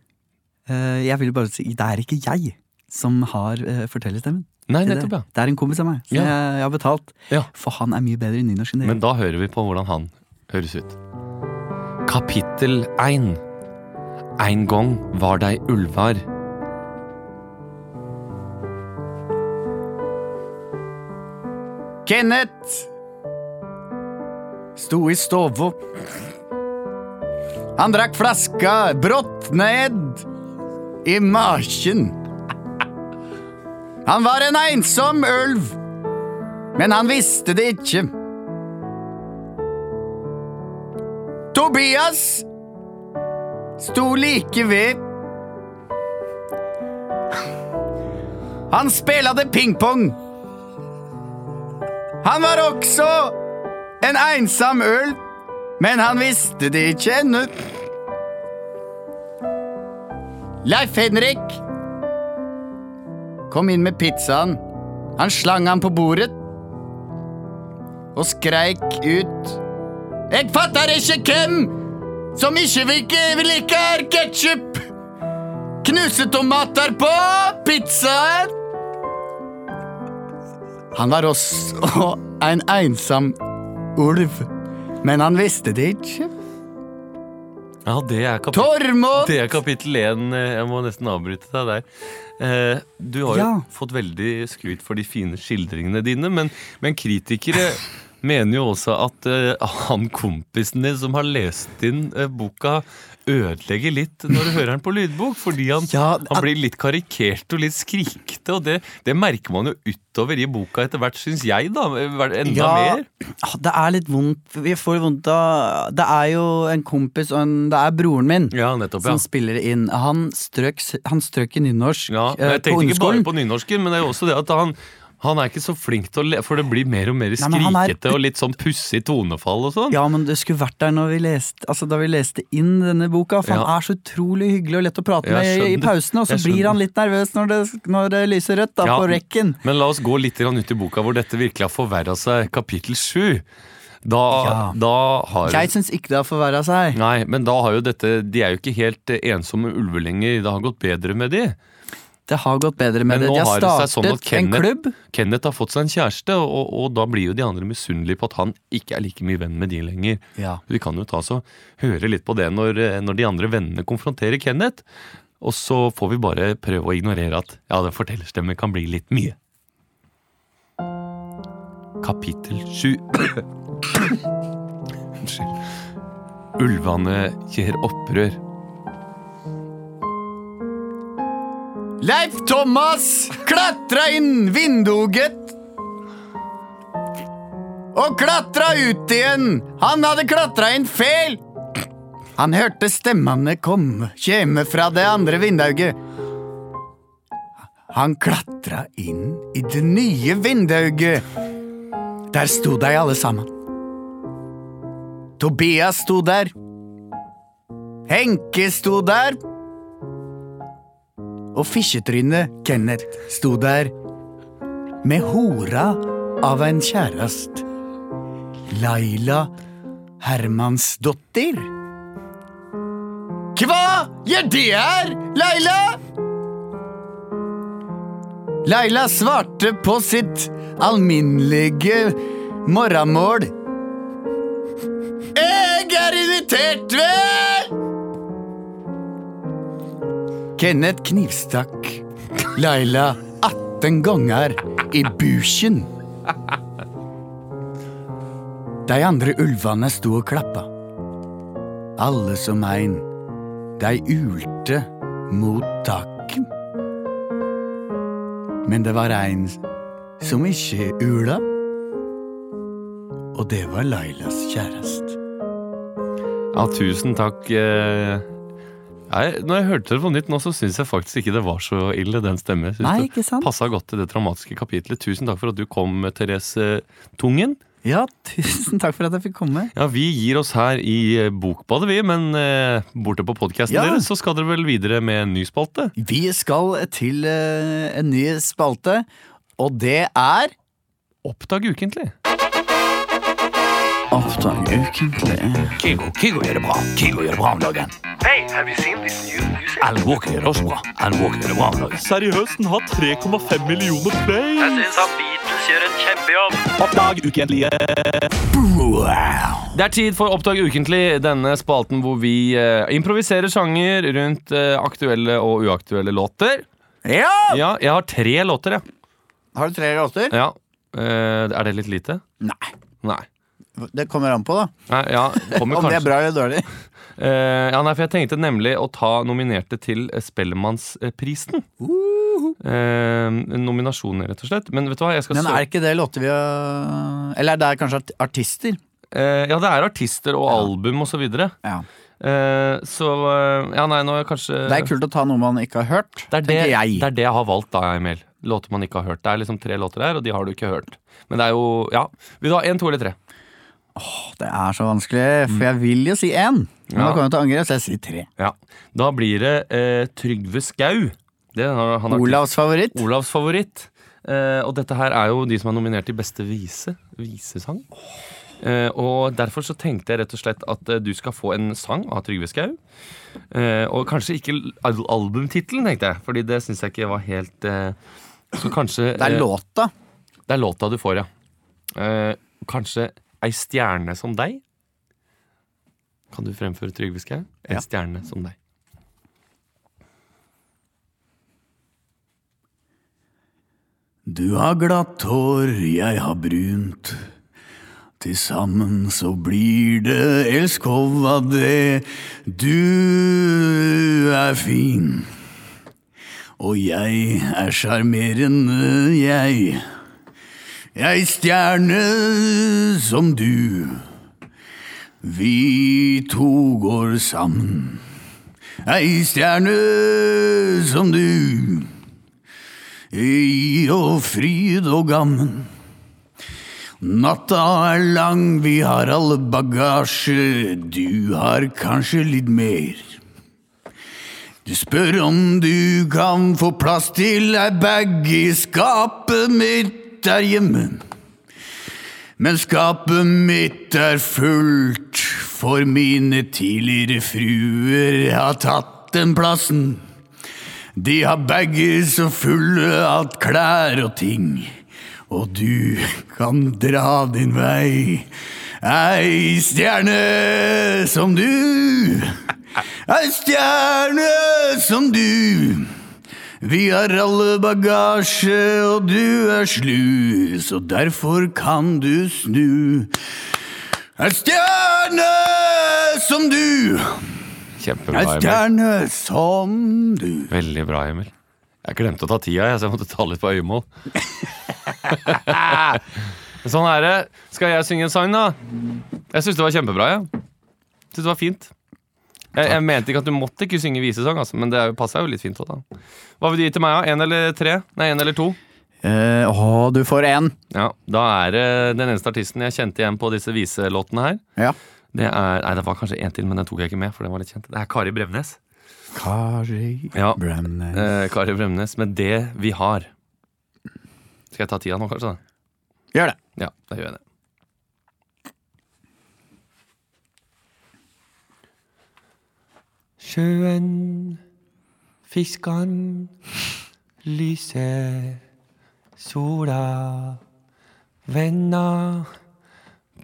S1: Eh, jeg vil bare si, det er ikke jeg som har eh, fortellerstemmen.
S2: Nei,
S1: Det,
S2: nettopp, ja.
S1: det er en kompis av meg som
S2: Ja.
S1: jeg, jeg har betalt.
S2: Ja.
S1: For han er mye bedre i nynorsk enn dere.
S2: Men da hører vi på hvordan han høres ut. Kapittel 1 Ein gong var dei ulvar.
S1: Kenneth sto i stova. Han drakk flaska brått ned i maken. Han var en ensom ulv, men han visste det ikke. Tobias sto like ved. Han spilte pingpong. Han var også en ensom ulv, men han visste det ikke ennå. Leif Henrik kom inn med pizzaen. Han slang han på bordet og skreik ut. Jeg fatter ikke hvem som ikke vil- liker ketsjup! Knusetomater på pizzaen! Han var også en ensom ulv, men han visste det ikke.
S2: Ja, det er kapittel
S1: Tormod!
S2: Det er kapittel én. Jeg må nesten avbryte deg der. Eh, Du har
S1: Ja.
S2: jo fått veldig skryt for de fine skildringene dine, men, men kritikere mener jo også at eh, han kompisen din som har lest inn eh, boka, ødelegger litt når du hører den på lydbok, fordi han,
S1: Ja,
S2: han blir litt karikert og litt skrikete, og det, det merker man jo utover i boka etter hvert, syns jeg, da. Hver- Enda mer.
S1: ah, Det er litt vondt. Vi får vondt av Det er jo en kompis, og en, det er broren min.
S2: Ja, nettopp, ja.
S1: Som spiller inn. Han strøk, s- han strøk i nynorsk
S2: Ja, men
S1: eh,
S2: jeg tenkte ikke bare
S1: ungdomsskolen.
S2: på nynorsken, men det er jo også det at han han er ikke så flink til å le, for det blir mer og mer
S1: Nei, men han er-
S2: skrikete og litt sånn pussig tonefall og sånn.
S1: Ja, men det skulle vært der når vi leste, altså, da vi leste inn denne boka. For
S2: Ja.
S1: han er så utrolig hyggelig og lett å prate
S2: Jeg
S1: med i, i
S2: skjønner.
S1: pausene, og så
S2: Jeg
S1: blir
S2: skjønner.
S1: han litt nervøs når det, når det lyser rødt da,
S2: Ja.
S1: på rekken.
S2: Men la oss gå litt grann ut i boka hvor dette virkelig har forverra seg. Kapittel sju. Da,
S1: Ja.
S2: da har
S1: Jeg syns ikke det har forverra seg.
S2: Nei, men da har jo dette De er jo ikke helt eh, ensomme ulver lenger. Det har gått bedre med de.
S1: Det har gått bedre med
S2: Men
S1: det.
S2: nå
S1: De har
S2: har det seg
S1: startet
S2: sånn at Kenneth-
S1: en klubb.
S2: Kenneth har fått seg en kjæreste, og, og da blir jo de andre misunnelige på at han ikke er like mye venn med de lenger.
S1: Ja.
S2: Vi kan jo ta oss og høre litt på det når, eh, når de andre vennene konfronterer Kenneth. Og så får vi bare prøve å ignorere at ja, den fortellerstemmen kan bli litt mye. Kapittel 7 Unnskyld. Ulvene gjør opprør.
S1: Leif Thomas klatra inn vinduet og klatra ut igjen. Han hadde klatra inn feil. Han hørte stemmene komme kjeme fra det andre vinduet. Han klatra inn i det nye vinduet. Der sto de alle sammen. Tobias sto der. Henke sto der og fisketrynet Kenneth sto der med hora av en kjærest. Laila Hermansdottir. Hva gjør det her, Laila? Laila svarte på sitt alminnelige morgenmål. Jeg er invitert, vel? Kenneth knivstakk Laila 18 ganger i buken. De andre ulvene sto og klappa. Alle som ein. De ulte mot taket. Men det var ein som ikke ula. Og det var Lailas kjæreste.
S2: Ja, tusen takk. eh. Nei, når jeg hørte det på nytt nå, så syns jeg faktisk ikke det var så ille, den stemmen. Jeg synes
S1: Nei,
S2: det
S1: ikke sant?
S2: Passa godt til det dramatiske kapitlet. Tusen takk for at du kom, Therese eh, Tungen.
S1: Ja, tusen takk for at jeg fikk komme.
S2: Ja, Vi gir oss her i eh, Bokbadet, vi, men eh, borte på podkasten
S1: Ja.
S2: deres så skal dere vel videre med en ny spalte?
S1: Vi skal til eh, en ny spalte, og det er
S2: Oppdag ukentlig.
S1: Oppdag ukentlig.
S6: Kygo, Kygo gjør det bra. Kygo gjør det bra om dagen. Alan Walker gjør det også bra. Alan Walker gjør det bra om dagen.
S8: Seriøst, den har 3,5 millioner plays!
S6: Oppdag ukentlige.
S2: Det er tid for Oppdag ukentlig, denne spalten hvor vi eh, improviserer sanger rundt eh, aktuelle og uaktuelle låter.
S1: Ja!
S2: Ja, jeg har tre låter, jeg.
S1: Har du tre låter?
S2: Ja. Eh, er det litt lite?
S1: Nei.
S2: Nei.
S1: Det kommer an på, da.
S2: Nei, ja,
S1: Om
S2: kommer
S1: det er
S2: kanskje
S1: bra eller dårlig.
S2: Eh, ja, nei, for Jeg tenkte nemlig å ta nominerte til eh, Spellemannsprisen. Eh, nominasjoner, rett og slett. Men vet du hva, jeg skal
S1: Men er
S2: søke
S1: ikke det låter vi har Eller det er kanskje art- artister?
S2: Eh, Ja, det er artister og album og så videre.
S1: Ja.
S2: Eh, så eh, Ja, nei, nå er jeg kanskje
S1: Det er kult å ta noe man ikke har hørt,
S2: det, er det,
S1: tenker jeg.
S2: det er det jeg har valgt, da, Emil. Låter man ikke har hørt. Det er liksom tre låter her, og de har du ikke hørt. Men det er jo Ja. Vil du ha én, to eller tre?
S1: Det er så vanskelig, for jeg vil jo si én. Men
S2: Mm.
S1: da
S2: Ja.
S1: kommer jeg til å angre, så jeg sier tre.
S2: Ja. Da blir det eh, Trygve Skau. Det har han har-
S1: Olavs favoritt.
S2: Olavs favoritt. Eh, og dette her er jo de som er nominert til beste vise. Visesang. Eh, og derfor så tenkte jeg rett og slett at eh, du skal få en sang av Trygve Skau. Eh, og kanskje ikke l- al albumtittelen, tenkte jeg, Fordi det syns jeg ikke var helt eh, Så kanskje
S1: Det er
S2: eh,
S1: låta.
S2: Det er låta du får, ja. Eh, kanskje Ei stjerne som deg? Kan du fremføre Trygve Skaug? Ei
S1: Ja.
S2: stjerne som deg.
S1: Du har glatt hår, jeg har brunt. Til sammen så blir det Elskova det. Du er fin. Og jeg er sjarmerende, jeg. Jeg stjerne som du. Vi to går sammen. Ei stjerne som du gir og fryd og gammen. Natta er lang, vi har alle bagasje, du har kanskje litt mer. Du spør om du kan få plass til ei bag i skapet mitt der hjemme. Men skapet mitt er fullt, for mine tidligere fruer har tatt den plassen. De har bager så fulle av klær og ting. Og du kan dra din vei. Ei stjerne som du. Ei stjerne som du. Vi har alle bagasje, og du er slu, så derfor kan du snu. Ei stjerne som du.
S2: Kjempebra,
S1: Ei
S2: Emil.
S1: stjerne som du.
S2: Veldig bra, Emil. Jeg glemte å ta tida, jeg, så jeg måtte ta litt på øyemål. Men sånn er det. Skal jeg synge en sang, da? Jeg syns det var kjempebra, jeg. Syns det var fint. Jeg, jeg mente ikke at du måtte ikke synge visesang, altså, men det er jo- passa jo litt fint. Også, da. Hva vil du gi til meg, da? Én eller tre? Nei, én eller to?
S1: Eh, å, du får én.
S2: Ja, Da er det den eneste artisten jeg kjente igjen på disse viselåtene her.
S1: Ja.
S2: Det er, nei, det var kanskje en til, men den tok jeg ikke med. for den var litt kjent. Det er Kari Bremnes.
S1: Kari
S2: Ja,
S1: Bremnes.
S2: eh, Kari Bremnes med Det vi har. Skal jeg ta tida nå, kanskje? da?
S1: Gjør det.
S2: Ja, da gjør jeg det. Sjøen, fiskene, lyset, sola, venner,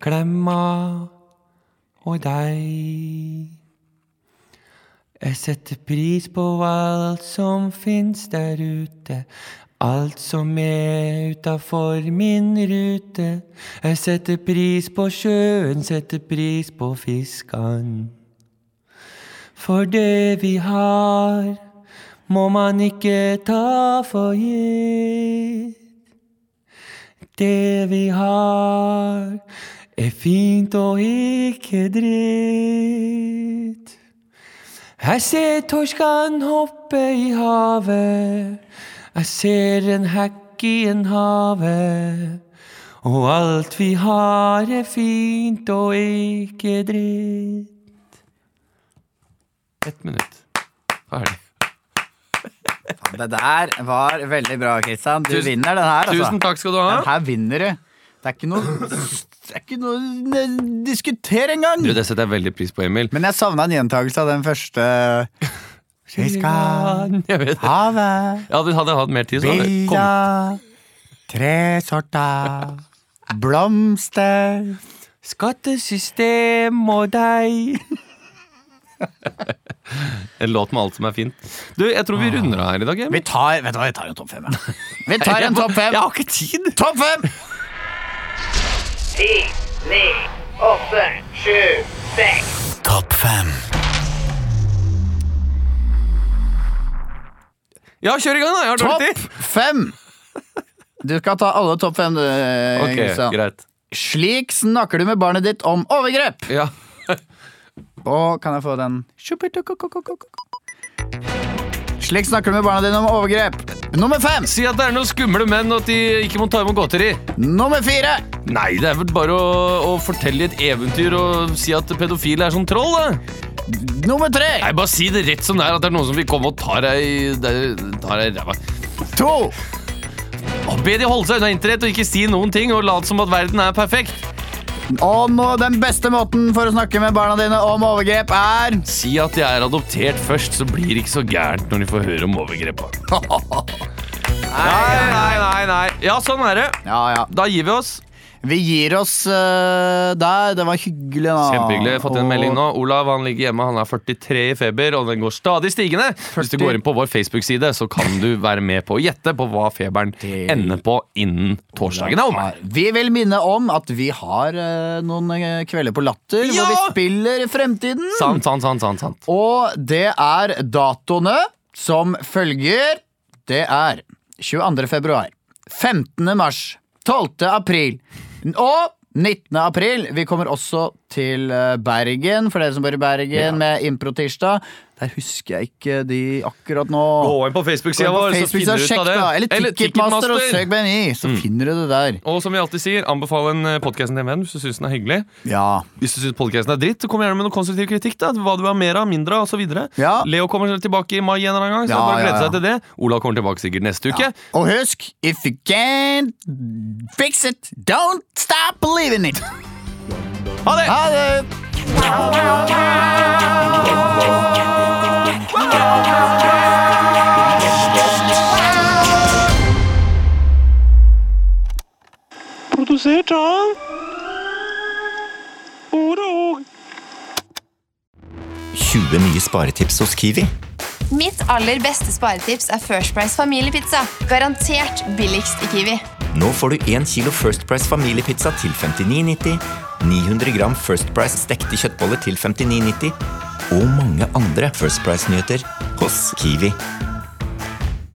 S2: klemmer og deg. Jeg setter pris på alt som fins der ute. Alt som er utafor min rute. Jeg setter pris på sjøen, setter pris på fiskan. For det vi har, må man ikke ta for gitt. Det vi har, er fint og ikke dritt. Jeg ser torskan hoppe i havet. Jeg ser en hekk i en havet. Og alt vi har er fint og ikke dritt. Ett minutt. Ferdig.
S1: Det der var veldig bra, Kristian. Du
S2: Tusen-
S1: vinner den her, altså.
S2: Tusen takk skal du
S1: Den
S2: ha.
S1: her vinner du. Det er ikke noe Det er ikke noe ne- diskutere engang.
S2: Du, det setter jeg veldig pris på, Emil.
S1: Men jeg savna en gjentakelse av den første Fiskan,
S2: Jeg vet det.
S1: havet,
S2: Ja, du hadde hatt mer tid, så hadde jeg kommet.
S1: billa, tresorta, blomster
S2: Skattesystem og deg. En låt med alt som er fint. Du, jeg tror vi runder av her i dag, Emil.
S1: Vi tar vet du hva, vi tar en topp fem. ja. Vi tar en topp fem.
S2: Jeg har ikke tid!
S1: Topp fem! Topp fem.
S2: Ja, kjør i gang, da! Jeg har dårlig tid.
S1: Topp fem! Du skal ta alle topp fem, du.
S2: Ok,
S1: Kristian.
S2: greit.
S1: Slik snakker du med barnet ditt om overgrep!
S2: Ja.
S1: Og kan jeg få den Slik snakker du med barna dine om overgrep. Nummer fem!
S2: Si at det er noen skumle menn, og at de ikke må ta imot godteri.
S1: Nummer fire!
S2: Nei, det er vel bare å, å fortelle i et eventyr og si at pedofile er som troll, da.
S1: Nummer tre!
S2: Nei, bare si det rett som det er, at det er noen som vil komme og ta deg i- der- ta deg i ræva.
S1: To!
S2: Og Be de holde seg unna internett og ikke si noen ting, og late som at verden er perfekt.
S1: Og nå, den beste måten for å snakke med barna dine om overgrep er
S2: Si at de er adoptert først, så blir det ikke så gærent når de får høre om overgrepa. Nei, nei, nei, nei. Ja, sånn er det.
S1: Ja, ja.
S2: Da gir vi oss.
S1: Vi gir oss eh, der. Det var hyggelig,
S2: Ah.
S1: da.
S2: Kjempehyggelig. Jeg har Fått en
S1: Og-
S2: melding nå. Olav han ligger hjemme. Han er 43 i feber, og den går stadig stigende. Hvis du
S1: 40.
S2: går inn på vår Facebook-side, så kan du være med på å gjette på hva feberen
S1: Det-
S2: ender på innen torsdagen er omme.
S1: Vi vil minne om at vi har eh, noen eh, kvelder på Latter hvor
S2: Ja!
S1: vi spiller Fremtiden.
S2: Sant, sant, sant, sant, sant.
S1: Og det er datoene som følger. Det er 22. februar, 15. mars, 12. april og 19. april. Vi kommer også til eh, Bergen, for dere som bor i Bergen, med Improtirsdag. Der husker jeg ikke de akkurat nå.
S2: Gå inn på Facebook-sida
S1: Gå
S2: vår,
S1: inn på
S2: så
S1: Facebook-sida
S2: finner
S1: og sjekk
S2: du ut av det. Mm.
S1: da. Eller Ticketmaster, og søk BNI, så finner du det der.
S2: Og som vi alltid sier, anbefal en podkasten til en venn hvis du syns den er hyggelig.
S1: Ja.
S2: Hvis du syns podkasten er dritt, så kom gjerne med noe konstruktiv kritikk. da Hva du har mer av, mindre av, osv.
S1: Ja.
S2: Leo kommer tilbake i mai en eller annen gang. Så
S1: Ja,
S2: bare glede
S1: ja, ja.
S2: seg til det Olav kommer tilbake sikkert neste uke.
S1: Og husk, if you can't fix it, don't stop believing it.
S2: Ha det!
S1: Ha det!
S8: Produsert av Ord og Åg.
S9: 20 nye sparetips hos Kiwi.
S10: Mitt aller beste sparetips er First Price familiepizza. Garantert billigst i Kiwi.
S9: Nå får du 1 kilo First Price familiepizza til 59,90, 900 gram First Price stekte kjøttboller til 59,90 og mange andre First Price-nyheter hos Kiwi.